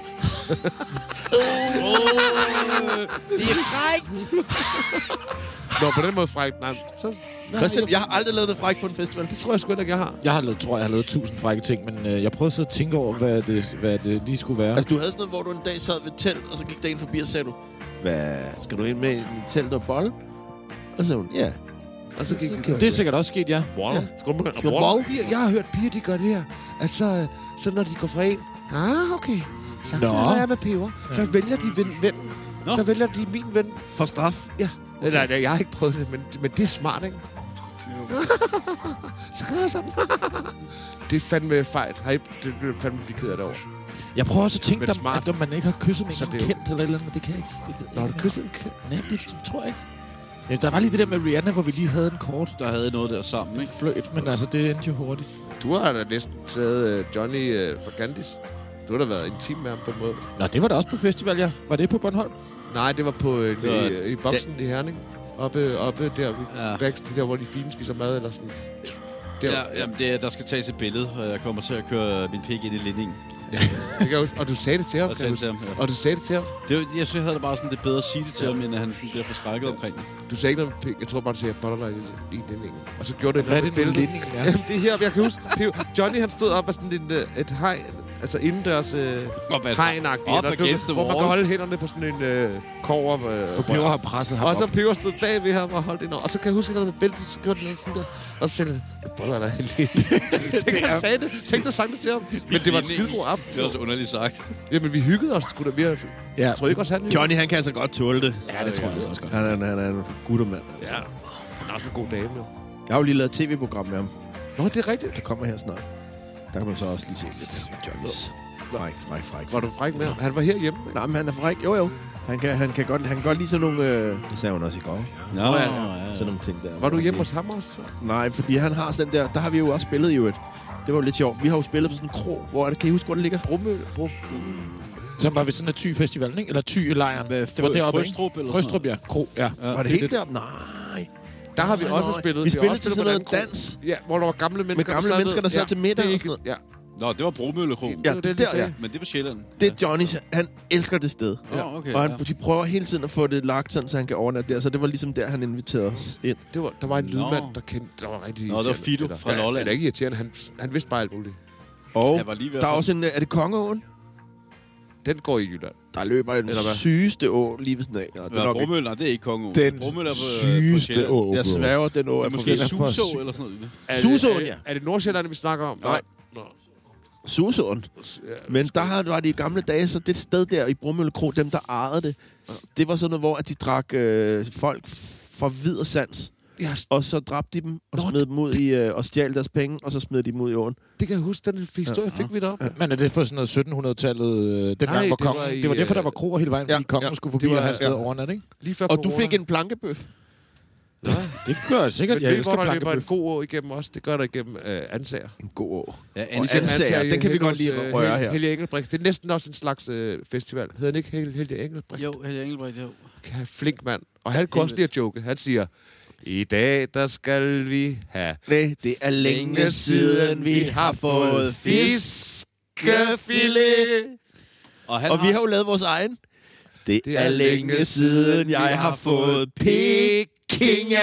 S3: Nå, på den måde frækt. Nej, så...
S5: Christian, jeg har aldrig lavet det frækt på en festival.
S3: Det tror jeg sgu heller ikke, jeg har.
S2: Jeg har lavet, tror, jeg har lavet tusind frække ting, men øh, jeg prøvede så at tænke over, hvad det, hvad det lige skulle være.
S5: Altså, du havde sådan noget, hvor du en dag sad ved et telt, og så gik der en forbi og sagde du, hvad, skal du ind med i mit telt og bold? Og så sagde hun, ja.
S3: Og så gik vi
S2: det er sikkert også sket, ja. Wow. ja.
S5: Skal du bold?
S3: Piger, jeg har hørt piger, de gør det her. At så, øh, så når de går fra en, ah, okay, så
S2: Nå.
S3: knaller jeg med peber. Så vælger de ven, vennen. Så vælger de min ven.
S5: For straf.
S3: Ja. Okay. Nej, nej, jeg har ikke prøvet det, men, men det er smart, ikke? [LAUGHS] så gør jeg sådan. [LAUGHS] det er fandme fejl. Har I, det er fandme blive ked af det over.
S2: Jeg prøver også at tænke,
S3: Men
S2: at,
S3: smart.
S2: at man ikke har kysset med
S3: Så
S2: en
S3: det er jo-
S2: kendt eller et eller andet, men det kan jeg ikke. Det ved
S3: Nå,
S2: jeg
S3: har du
S2: ikke.
S3: kysset en kæ-
S2: Nej, det tror jeg ikke. Ja, der var lige det der med Rihanna, hvor vi lige havde en kort
S4: Der havde noget der sammen, ikke?
S2: fløjt, men altså, det endte jo hurtigt.
S3: Du har da næsten taget øh, Johnny øh, fra Gandis. Du har da været intim med ham på en måde.
S2: Nå, det var da også på festival, ja. Var det på Bornholm?
S3: Nej, det var på øh,
S4: var-
S3: i, i boksen i Herning. Oppe, oppe der, ja. vækst, det der, hvor de fine spiser mad, eller sådan. Der, ja,
S4: Ja, jamen, det, er- der skal tages et billede, og jeg kommer til at køre min pik ind i linningen.
S3: jeg kan huske, og du sagde det til ham,
S4: Og
S3: kan jeg
S4: sagde det til
S3: huske.
S4: ham, ja.
S3: Og du sagde det til ham.
S4: Det, var- jeg synes, jeg havde det bare sådan, det er bedre at sige det til ham, end at han sådan bliver forskrækket omkring det.
S3: Du sagde ikke noget med pik. Jeg tror bare, du sagde, boller dig i linningen. Og så gjorde det
S2: Hvad er
S3: noget
S2: det nu,
S3: med billedet.
S2: linningen er?
S3: Jamen, det er her, jeg kan huske. Det er, jo- Johnny, han stod op af sådan en, øh, et hegn, altså indendørs øh,
S4: Op ad-
S3: hegnagtigt.
S4: op
S3: eller du-
S4: against the
S3: Hvor man
S4: wall.
S3: kan holde hænderne på sådan en øh, kover. Øh, rør.
S2: Peber har presset ham
S3: og
S2: op.
S3: så Peber stod bag ved ham og holdt ind over. Og så kan jeg huske, at han havde bæltet, så gjorde den sådan der. Og så sagde han, jeg boller dig lidt.
S2: [LAUGHS]
S3: Tænk, jeg sagde det. Tænk, du sagde det til ham. Men det var en skide god aften.
S4: Det var så underligt sagt.
S3: Jamen, vi hyggede os sgu da. Vi har...
S2: Ja.
S3: Tror I ikke også, han...
S5: Johnny, han kan altså godt tåle det.
S2: Ja, det tror jeg altså også godt.
S5: Han, han, han er en guttermand. Altså. Ja.
S3: Han er også en god dame, jo.
S5: Jeg har jo lige lavet et tv-program med ham.
S3: Nå, det er rigtigt.
S5: Det kommer her snart. Der kan man så også lige se lidt. Johnnys. Fræk, fræk, fræk.
S3: Var du fræk med ham? Han var herhjemme. ikke?
S5: Nej, men han er fræk. Jo, jo. Han kan, han kan, godt, han kan godt lide sådan nogle... Øh, det sagde hun også i går.
S4: Nå, ja,
S5: Ja. Sådan nogle ting der.
S3: Var du hjemme hos ham også?
S5: Nej, fordi han har sådan der... Der har vi jo også spillet i øvrigt. Det var jo lidt sjovt. Vi har jo spillet på sådan en krog, hvor... Kan I huske, hvor den ligger?
S3: Brummøl? Brum.
S2: Som var ved sådan en Thy-festivalen, ikke? Eller Thy-lejren. Det var deroppe, ikke?
S4: Frøstrup eller
S2: Frøstrup, ja. Kro, ja.
S5: Var det helt deroppe? Nej.
S3: Der har vi
S5: Nå,
S3: også
S5: nå,
S3: spillet.
S5: vi
S3: har
S5: spillede
S3: også
S5: til
S3: på
S5: sådan
S3: en anden
S5: noget
S3: krog. Ja, hvor der var gamle mennesker,
S5: gamle mennesker, der sad
S3: ja,
S5: til middag
S3: det er
S5: og
S3: ikke-
S5: sådan
S3: Ja,
S4: Nå, det var Bromøllekrogen.
S5: Ja,
S3: var
S5: det er
S3: det, de
S5: der, ja.
S3: sagde.
S4: Men det var Sjælland.
S5: Det er Johnnys. Han elsker det sted.
S4: Ja. Åh, okay,
S5: og han,
S4: ja.
S5: de prøver hele tiden at få det lagt, sådan, så han kan overnatte der. Så det var ligesom der, han inviterede os ind.
S3: det var, der var en
S4: Nå.
S3: lydmand, der kendte, der var rigtig
S4: Nå, det var
S3: irriterende,
S4: Fido
S3: der.
S4: fra
S3: Ja,
S4: Lolland.
S3: Det er ikke irriterende, han, han vidste bare alt muligt.
S5: Og
S4: Jeg var lige ved at
S5: der er
S4: komme-
S5: også en... øh, Er det Kongeåen?
S3: Den går i Jylland.
S5: Der løber en
S3: Eller hvad?
S5: sygeste å lige ved sådan af. Ja, det er
S4: Ja,
S5: nok ikke.
S4: Bromøl, nej, det er ikke Kongo.
S2: Den
S4: Bromøl er på,
S2: sygeste
S4: år.
S2: å,
S5: Jeg
S2: bro.
S5: sværger, den å er
S4: Måske
S5: måske...
S2: er for
S4: Suså
S2: syg.
S4: eller sådan noget.
S3: Er det-
S5: Susåen,
S3: er det-
S5: ja.
S3: Er det Nordsjælland, vi snakker om?
S5: Nej. Susåen. Men der har- var det i gamle dage, så det sted der i Brumølle Kro, dem der ejede det, det var sådan noget, hvor at de drak øh, folk fra vid og sans.
S3: Ja,
S5: Og så dræbte de dem og smed dem ud i, øh, og stjal deres penge, og så smed de dem ud i åen.
S3: det kan jeg huske, den historie fik vi deroppe.
S2: Men er det for sådan noget 1700-tallet, øh, den
S3: Nej,
S2: gang, hvor
S3: det var
S2: kongen...
S3: i,
S2: det var derfor, der
S3: øh,
S2: var kroer hele vejen,
S5: ja,
S2: fordi kongen
S5: ja.
S2: skulle forbi
S5: Det var-
S2: og have et sted
S5: ja.
S2: overnat, ikke?
S3: Lige før
S5: Og du
S3: corona.
S5: fik en plankebøf.
S2: Det gør jeg sikkert.
S3: Men
S2: Jeg
S3: ved, hvor
S2: elsker
S3: der løber en
S2: plankebøf.
S3: god år igennem os. Det gør der igennem øh, ansager.
S5: En god å.
S4: Ja,
S5: Og
S4: Ansager.
S5: ansager, den kan vi godt lige røre her.
S3: Helge Engelbrecht. Det er næsten også en slags øh, festival. Hedder han ikke Hel- Helge Engelbrecht?
S4: Jo, Helge Engelbrecht, jo.
S3: kan have flink mand. Og han kunne også lige at joke. Han siger, i dag der skal vi have
S5: Nej, det er længe siden, vi har fået fisk.
S3: fiskefilet.
S4: Og, han
S5: Og vi har jo lavet vores egen. Det, det er længe siden, jeg har fået pekingen.
S4: [LAUGHS]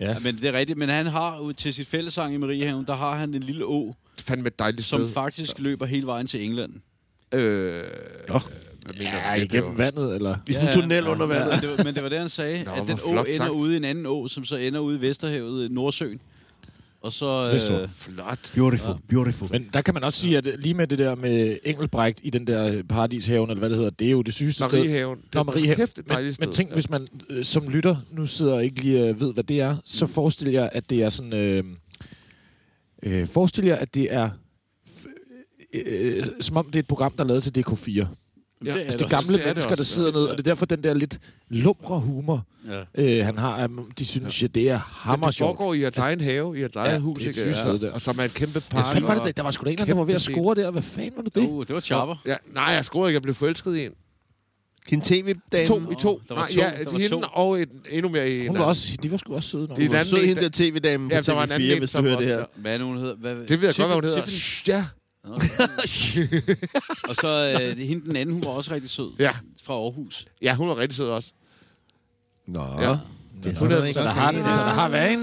S4: Ja, men det er rigtigt. Men han har jo til sit fællesang i Mariehaven, der har han en lille å,
S3: Fandme et dejligt
S4: som
S3: sted.
S4: faktisk løber hele vejen til England.
S3: Øh, hvad mener
S2: Ja,
S3: du?
S2: igennem vandet, eller...
S5: I sådan en tunnel under
S4: Men
S5: vandet.
S4: det, var- men det var det, han sagde,
S3: Nå,
S4: at
S3: hvor
S4: den å
S3: flot
S4: ender
S3: sagt.
S4: ude i en anden å, som så ender ude i Vesterhavet, øh, Nordsøen. Og så... Øh,
S2: så.
S3: Flot.
S5: Beautiful, beautiful.
S2: Men der kan man også sige, at lige med det der med Engelbrecht i den der paradishaven, eller hvad det hedder, det er jo det sygeste sted.
S3: Mariehaven. Det
S2: Nå,
S3: er
S2: Mariehaven.
S3: kæft et
S2: men,
S3: dejligt sted.
S2: men tænk,
S3: Ja.
S2: hvis man øh, som lytter nu sidder og ikke lige øh, ved, hvad det er, så forestil jer, at det er sådan... Øh, øh, forestil jer, at det er... f- Øh, som om det er et program, der er lavet til DK4.
S4: ja, det, er
S2: Altså,
S4: der.
S2: det er gamle
S3: Det er det
S2: mennesker,
S3: også,
S2: der sidder ned, og det er derfor den der lidt lumre humor,
S4: Ja.
S2: øh, han har, um, de synes, ja. at det er
S3: Men
S2: hammer
S3: det foregår i jeres egen have, i jeres eget hus,
S2: det er et
S3: ikke?
S2: sygt sted, det.
S3: Og som er en kæmpe
S2: Hvad
S3: park.
S2: fanden var det?
S3: og-
S2: der? Der var sgu da en, eller anden, der var ved at
S3: Kæmpe
S2: score der. Hvad fanden var nu det?
S4: Uh, det var Chopper.
S3: Ja, nej, jeg skruer ikke. Jeg blev forelsket i en.
S5: Din tv-dame.
S3: To, i to.
S4: der var
S3: Nej,
S4: to,
S3: ja,
S4: der var
S3: hende
S4: to.
S3: og en, endnu mere i en.
S2: Hun var også, de var sgu også søde.
S3: Det er
S2: Det
S3: en
S5: Du
S3: anden
S5: så
S3: en,
S5: hende der tv-damen på
S3: Ja, der var en anden
S5: TV4,
S3: en,
S5: hvis du
S3: som
S5: hører
S3: også
S5: det her.
S3: der.
S4: Hvad er nu, hun hedder? Hvad,
S3: Det ved jeg godt, hvad hun
S4: Tiffany-
S3: hedder.
S4: Tiffany-
S3: Shh, Ja,
S4: Og så øh, hende den anden, hun var også rigtig sød.
S3: Ja.
S4: Fra Aarhus.
S3: ja, hun var rigtig sød også.
S5: Nå.
S3: Ja.
S2: er
S3: hun
S2: sådan,
S3: er-
S2: så der har, så der har været en.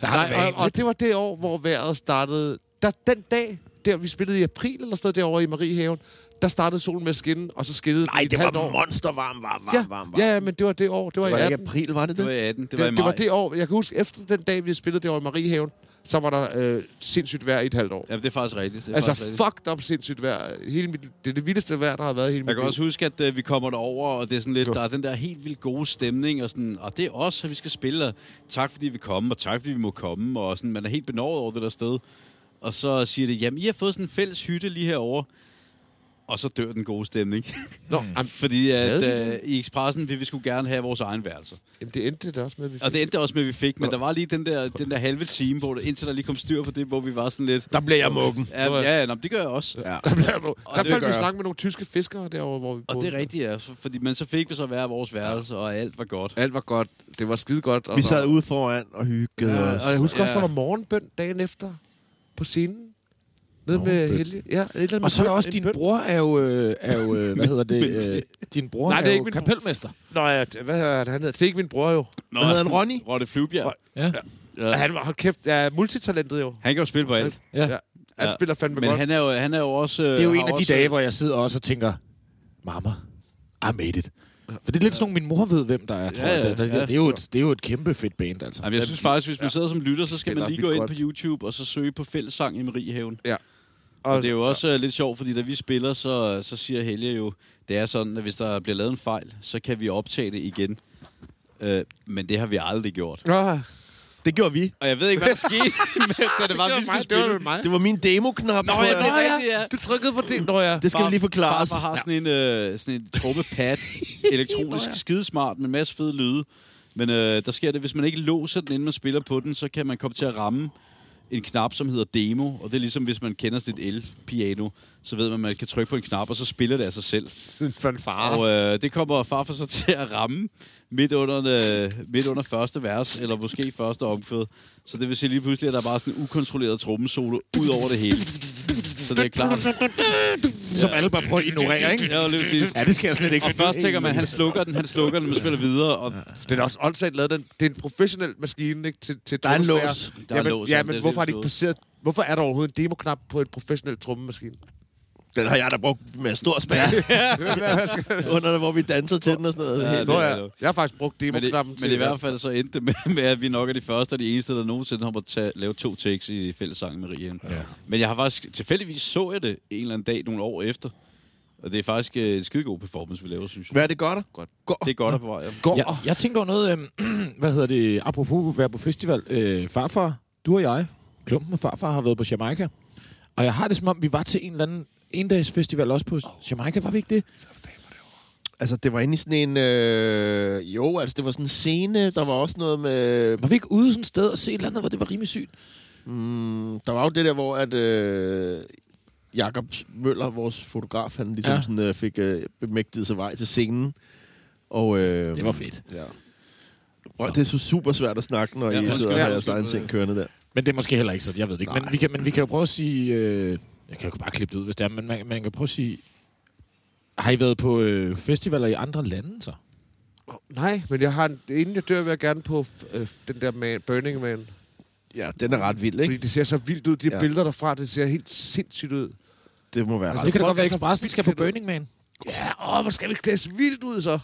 S2: Der har
S3: Nej, og,
S2: været
S3: og det var det år, hvor vejret startede. Der, den dag, der vi spillede i april eller sådan noget derovre i Mariehaven, der startede solen med at skinne, og så skinnede den i et halvt år.
S5: monstervarm, varm,
S3: ja, ja, ja, men det var det år. Det var,
S5: Det
S3: i
S5: var ikke
S3: 18.
S5: april, var det
S4: Det var
S5: det?
S4: i 18. Det
S3: Det
S4: var
S3: var,
S4: i maj.
S3: det var det år. Jeg kan huske, efter den dag, vi spillede derovre i Mariehaven, så var der øh, sindssygt vejr i et halvt år.
S4: Ja, det er faktisk rigtigt. Det er
S3: altså
S4: faktisk rigtigt.
S3: fucked up sindssygt vejr. Hele mit, det er det vildeste vejr, der har været i hele
S4: Jeg
S3: mit
S4: kan
S3: liv.
S4: også huske, at øh, vi kommer derover, og det er sådan lidt, der er den der helt vildt gode stemning, og sådan, og det er os, at vi skal spille, og tak fordi vi kommer, og tak fordi vi må komme, og sådan, man er helt benovet over det der sted. Og så siger det, jamen I har fået sådan en fælles hytte lige herover. og så dør den gode stemning. [LAUGHS]
S3: Nå, jamen,
S4: Fordi
S3: Havde
S4: at, øh, i Expressen ville vi skulle gerne have vores egen værelse.
S3: jamen, det endte det også med, at vi
S4: Og det endte også med, at vi fik, men der var lige den der, den der halve time, hvor det, indtil der lige kom styr på det, hvor vi var sådan lidt...
S5: Der blev jeg muggen.
S4: Ja, ja, ja nå, men det gør jeg også. Ja.
S3: [LAUGHS] Der, blev, der, der
S5: det
S3: faldt
S5: gør
S3: vi
S5: jeg.
S3: snak med nogle tyske fiskere derovre, hvor vi
S4: Og det er rigtigt, ja. Så- Fordi, men så fik vi så hver vores værelse, og alt var godt.
S3: Alt var godt. Det var skide godt. Og
S5: Vi
S3: der-
S5: sad ude foran og hyggede ja, os.
S3: Og jeg husker også,
S4: Ja.
S3: der var morgenbøn dagen efter på scenen. Nede med Helge. Ja, et eller andet med
S2: Og så er der
S3: bøn.
S2: også,
S3: En
S2: din
S3: bøn.
S2: bror er jo, øh, er jo øh, hvad hedder
S5: [LAUGHS]
S2: det, øh, din bror
S3: Nej,
S2: er,
S3: det er
S2: jo
S3: ikke min bror.
S2: kapelmester.
S3: Nå ja, det- hvad er det, han hedder? Det er ikke min bror jo.
S4: Nå,
S5: Hvad hedder han, Ronny?
S4: Rotte Flyvbjerg.
S2: Ja.
S3: Ja. Han var, hold kæft, ja, multitalentet jo.
S4: Han kan jo spille på alt.
S2: Ja.
S3: Han
S4: Ja.
S3: spiller fandme
S4: Men
S3: godt.
S4: han er jo, han er jo Øh, også...
S2: Det er jo en af de dage, hvor jeg sidder også og tænker, mamma, I made it. For det er lidt sådan nogle, min mor ved, hvem der er, tror
S4: Ja,
S2: jeg.
S4: ja,
S2: Det, det,
S4: ja.
S2: det, er jo et, det er jo et kæmpe fedt band, altså.
S4: Jamen, jeg synes faktisk, hvis man sidder som lytter, så skal man
S5: Spiller
S4: lige
S5: vildt
S4: gå ind
S5: godt.
S4: på YouTube og så søge på fællessang i Mariehaven.
S3: Ja.
S4: Og det er jo også øh, lidt sjovt, fordi da vi spiller, så, øh, så siger Helge jo, det er sådan, at hvis der bliver lavet en fejl, så kan vi optage det igen. Øh, men det har vi aldrig gjort.
S3: Nå,
S5: Det gjorde vi.
S4: Og jeg ved ikke, hvad der skete, men da det var,
S3: det
S4: det
S3: var
S4: vi skulle
S3: mig, det
S4: spille.
S3: var vel mig.
S5: Det var min demo-knap, tror
S4: ja,
S5: jeg.
S4: det er rigtigt, ja.
S3: Du trykkede på det. Nå ja.
S5: Det skal lige forklares.
S4: Farfar har sådan en, øh, sådan en trummepad, elektronisk, skidesmart, med en masse fede lyde. Men øh, der sker det, hvis man ikke låser den, inden man spiller på den, så kan man komme til at ramme en knap, som hedder demo. Og det er ligesom, hvis man kender sit el-piano, så ved man, at man kan trykke på en knap, og så spiller det af sig selv.
S3: fanfare.
S4: Og øh, det kommer farfar så [LAUGHS] til at ramme midt under, øh, midt under første vers, eller måske første omkvæd. Så det vil sige lige pludselig, at der er bare sådan en ukontrolleret trommesolo ud over det hele. Så det er klart.
S2: Som alle bare prøver at ignorere, ikke?
S4: Ja, lige præcis.
S2: Ja, det skal jeg slet ikke.
S4: Og først tænker man, han slukker den, han slukker den, man spiller videre. Og
S3: Den er også åndssagt lavet. Den, det er en professionel maskine ikke, til, til
S5: Der er en
S3: trommeslærer.
S5: lås.
S4: Der er
S3: Jamen,
S4: en lås, ja,
S3: ja,
S4: det er
S3: men hvorfor har de
S4: det,
S3: ikke
S4: vi
S3: placeret... Hvorfor er der overhovedet en demoknap på en professionel trommemaskine?
S5: Den har jeg da brugt med stor spænd. [LAUGHS] Under det, hvor vi danser til den og sådan noget.
S4: Ja,
S5: Helt-
S3: Nå
S4: er
S3: ja,
S4: det.
S3: jeg har faktisk brugt
S4: men, det,
S3: demoknappen til...
S4: men i hvert fald så endte det med, med, at vi nok er de første og de eneste, der nogensinde har måttet tage, lave to takes i fællessangen med Rien. Ja. Men jeg har faktisk, tilfældigvis så jeg det en eller anden dag nogle år efter. Og det er faktisk øh, en skidegod performance, vi laver, synes jeg.
S5: Hvad er det godt? Godt. godt.
S4: Det er godt at på vej. ja.
S2: Går. Jeg, jeg tænkte over noget, øh, [CLEARS THROAT] hvad hedder det, apropos at være på festival. Øh, farfar, du og jeg, klumpen og farfar, har været på Jamaica. Og jeg har det som om, vi var til en eller anden endagsfestival også på Jamaica, var vi ikke det?
S5: Altså, det var inde i sådan en... Øh... Jo, altså, det var sådan en scene. Der var også noget med...
S2: Var vi ikke ude sådan et sted og se et eller andet, hvor det var rimelig sygt?
S5: Mm, der var jo det der, hvor at... Øh... Jakob Møller, vores fotograf, han ligesom
S2: Ja.
S5: ja. sådan, øh, fik øh, bemægtiget sig vej til scenen. Og, øh...
S2: Det var fedt.
S5: Ja. Bro, det er så super svært at snakke, når
S4: Ja,
S5: ja, I
S4: undskyld,
S5: sidder og
S4: ja,
S5: har jeres
S4: undskyld.
S5: egen ting kørende der.
S2: Men det er måske heller ikke, så jeg ved det ikke. Men
S5: Nej.
S2: vi, kan, men vi kan jo prøve at sige... Øh, jeg kan jo bare klippe det ud, hvis det er, men man, man kan prøve at sige... Har I været på øh, festivaler i andre lande,
S3: Altså,
S2: så?
S3: Nej, men jeg har en, inden jeg dør, vil jeg gerne på f- øh, f- den der man, Burning Man.
S5: Ja, den er ret vild,
S3: Fordi
S5: ikke?
S3: det ser så vildt ud. De
S5: Ja.
S3: ja. billeder derfra, det ser helt sindssygt ud.
S5: Det må være
S2: Altså,
S5: ret
S2: det kan da
S3: folk
S2: godt være,
S3: er
S2: at
S3: så
S2: Expressen
S3: vildt
S2: skal på
S3: fedt ud.
S2: Burning Man.
S3: Ja, åh, hvor skal vi klæde os vildt ud så?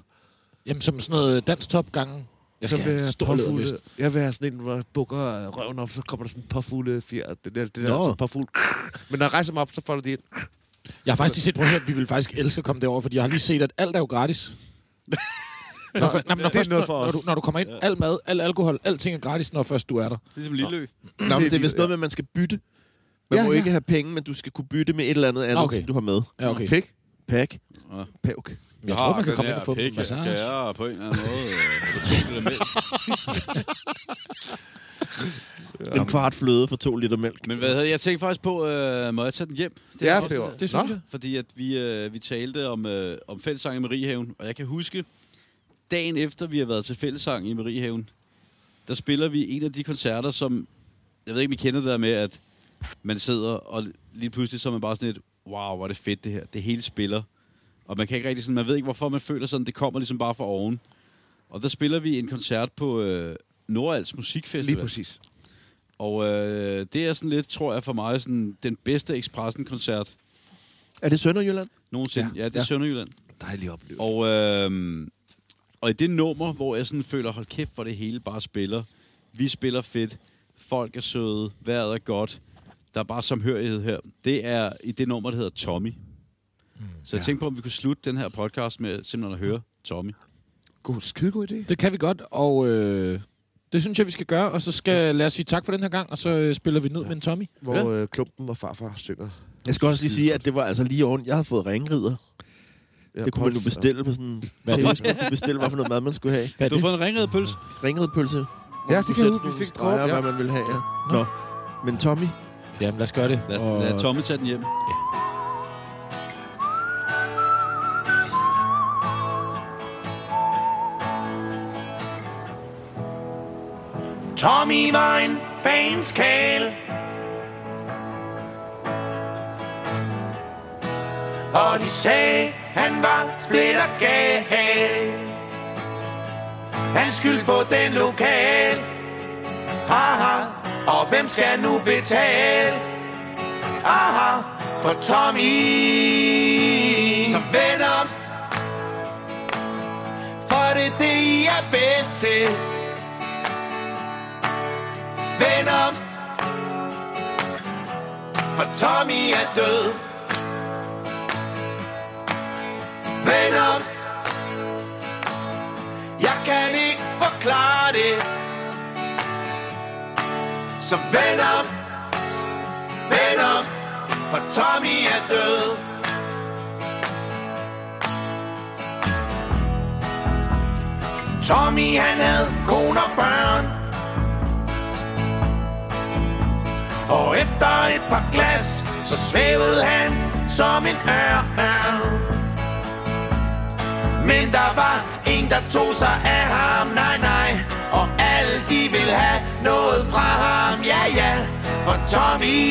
S2: Jamen, som sådan noget øh, dansk topgange. Jeg skal
S3: så vil
S2: have en
S3: jeg,
S2: stor
S3: påfugle,
S2: lædervest.
S3: jeg vil have sådan en, hvor jeg bukker øh, røven op, så kommer der sådan en påfugle fjer. Det der, det der
S5: Nå.
S3: sådan en påfugle. Men når jeg rejser mig op, så folder de ind.
S2: Jeg har faktisk lige set, prøv at høre, vi vil faktisk elske at komme derover, fordi jeg har lige set, at alt er jo
S3: [LAUGHS]
S2: gratis. Når, for, når, når,
S3: det er
S2: først,
S3: noget
S2: når,
S3: for
S2: når,
S3: os.
S2: du, når du kommer ind, al mad, al alkohol, alting er gratis, når først du er der.
S4: Ligesom Lillø.
S5: Nå, men det er vist noget med, at man skal bytte. Man
S3: Ja,
S5: ja, må
S3: ja.
S5: ikke have penge, men du skal kunne bytte med et eller andet andet,
S2: okay.
S5: okay. Ah. du har med.
S2: Ja, okay.
S3: Pik.
S5: Pack.
S4: Ja.
S5: Pævk.
S2: Men Jeg tror, man kan
S4: Ah, den
S2: komme
S4: her
S2: ind og få en
S4: pik,
S2: massage.
S4: Ja, jeg er på en eller anden måde. øh, to liter mælk.
S5: En kvart fløde for to liter mælk.
S4: Men hvad havde jeg tænkt faktisk på, øh, må jeg tage den hjem? Det
S3: Ja,
S4: er også-
S3: Peber.
S2: Det
S3: Nå.
S2: synes jeg.
S4: fordi at vi, øh, vi talte om, øh, om fællesang i Mariehaven, og jeg kan huske, dagen efter vi har været til fællesang i Mariehaven, der spiller vi en af de koncerter, som, jeg ved ikke, om I kender det der med, at man sidder, og lige pludselig så er man bare sådan lidt, wow, hvor er det fedt det her, det hele spiller. Og man kan ikke rigtig sådan, man ved ikke, hvorfor man føler sådan, det kommer ligesom bare fra oven. Og der spiller vi en koncert på øh, Nordals Musikfestival.
S3: Lige præcis.
S4: Og øh, det er sådan lidt, tror jeg, for mig sådan, den bedste Expressen-koncert
S5: Er det Sønderjylland?
S4: nogensinde. Ja, ja det er ja. Sønderjylland.
S3: Dejlig oplevelse.
S4: Og, øh, og i det nummer, hvor jeg sådan føler, hold kæft, hvor det hele bare spiller. Vi spiller fedt. Folk er søde. Vejret er godt. Der er bare samhørighed her. Det er i det nummer, der hedder Tommy. Mm, så jeg ja. tænkte på, om vi kunne slutte den her podcast med simpelthen at høre Tommy.
S3: God, skidegod idé.
S2: Det kan vi godt, og øh, det synes jeg, vi skal gøre. Og så skal lad os sige tak for den her gang, og så øh, spiller vi ned med en Tommy.
S3: Hvor øh, klumpen og farfar synger.
S5: Jeg skal også lige sige, at det var altså lige oven. Jeg havde fået ringrider. Ja, det kunne man jo bestille på sådan... Hvad det? Man kunne bestille, hvad for noget mad man skulle have.
S4: Du har fået en ringredet pølse.
S5: Ringredpølse.
S3: Ja, det kan jeg huske, vi fik
S5: kort.
S3: kort, ja.
S5: hvad man ville have, ja. Nå. Men Tommy,
S2: Jamen, lad os gøre det.
S4: Lad os
S2: Og-
S4: lade Tommy tage den hjem.
S1: Tommy var en fanskal Og de sagde, han var splitter gal Han skyld på den lokal Haha, og hvem skal nu betale? Aha, for Tommy Så vend om For det er det, I er bedst til Vend om For Tommy er død Vend om Jeg kan ikke forklare det Så vend om Vend om For Tommy er død Tommy han havde kone og børn Og efter et par glas, så svævede han som en ørn. Men der var en, der tog sig af ham, nej nej Og alle de vil have noget fra ham, ja ja For Tommy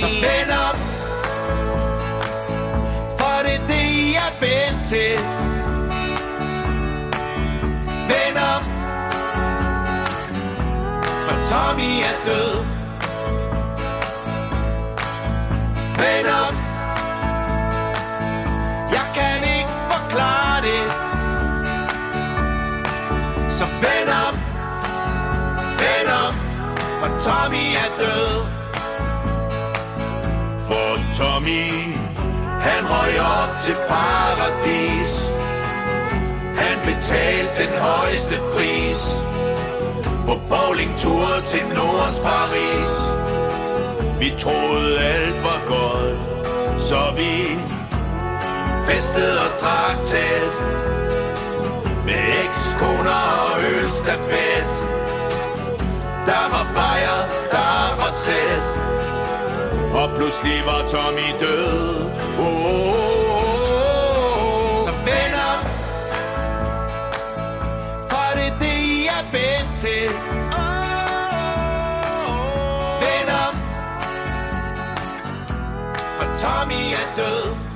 S1: Så vend op For det er det, I er bedst til Vend op for Tommy er død Vend op Jeg kan ikke forklare det Så vend op Vend op For Tommy er død For Tommy Han røg op til paradis Han betalte den højeste pris på bowlingtur til Nordens Paris Vi troede alt var godt Så vi festede og drak tæt Med ekskoner og ølstafet Der var bajer, der var sæt Og pludselig var Tommy død oh, oh, oh, oh. Så vend op for det er det, I er bedst til. oh, Vend om, for Tommy er død.